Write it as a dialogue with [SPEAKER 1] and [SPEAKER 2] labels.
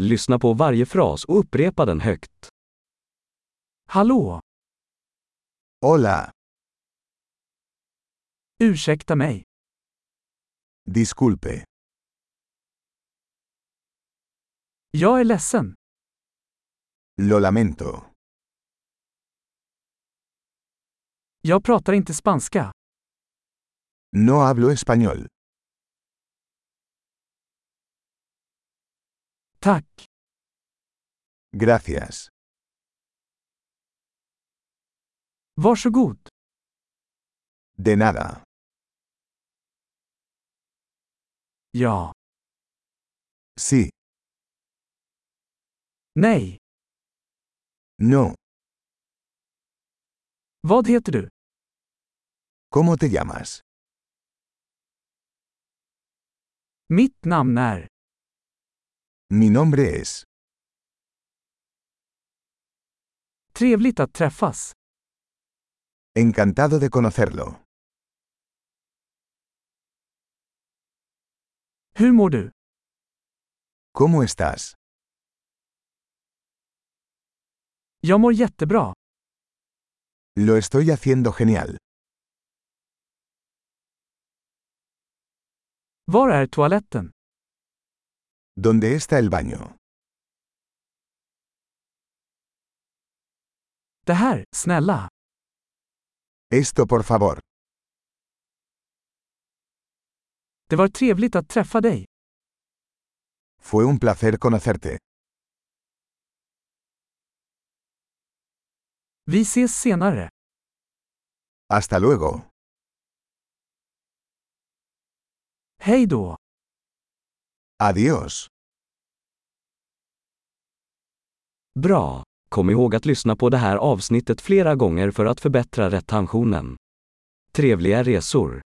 [SPEAKER 1] Lyssna på varje fras och upprepa den högt. Hallå!
[SPEAKER 2] Hola,
[SPEAKER 1] Ursäkta mig.
[SPEAKER 2] disculpe,
[SPEAKER 1] Jag är ledsen.
[SPEAKER 2] lo lamento.
[SPEAKER 1] Jag pratar inte spanska.
[SPEAKER 2] No hablo español.
[SPEAKER 1] Tack.
[SPEAKER 2] Gracias.
[SPEAKER 1] Varsågod.
[SPEAKER 2] De nada.
[SPEAKER 1] Ja.
[SPEAKER 2] Sí,
[SPEAKER 1] Nej.
[SPEAKER 2] no.
[SPEAKER 1] Vad heter du?
[SPEAKER 2] ¿Cómo te llamas?
[SPEAKER 1] Mitt namn är.
[SPEAKER 2] Mi nombre es.
[SPEAKER 1] Trevligt att träffas.
[SPEAKER 2] Encantado de conocerlo.
[SPEAKER 1] Hur mår du?
[SPEAKER 2] ¿Cómo estás?
[SPEAKER 1] Jag mår jättebra.
[SPEAKER 2] Lo estoy haciendo genial.
[SPEAKER 1] Var är toaletten?
[SPEAKER 2] ¿Dónde está el baño?
[SPEAKER 1] Det här, snälla.
[SPEAKER 2] Esto, por favor.
[SPEAKER 1] Det var trevligt att träffa dig.
[SPEAKER 2] Fue un placer conocerte.
[SPEAKER 1] Vi ses senare.
[SPEAKER 2] Hasta luego.
[SPEAKER 1] Hej då.
[SPEAKER 2] Adiós.
[SPEAKER 1] Bra! Kom ihåg att lyssna på det här avsnittet flera gånger för att förbättra retentionen. Trevliga resor!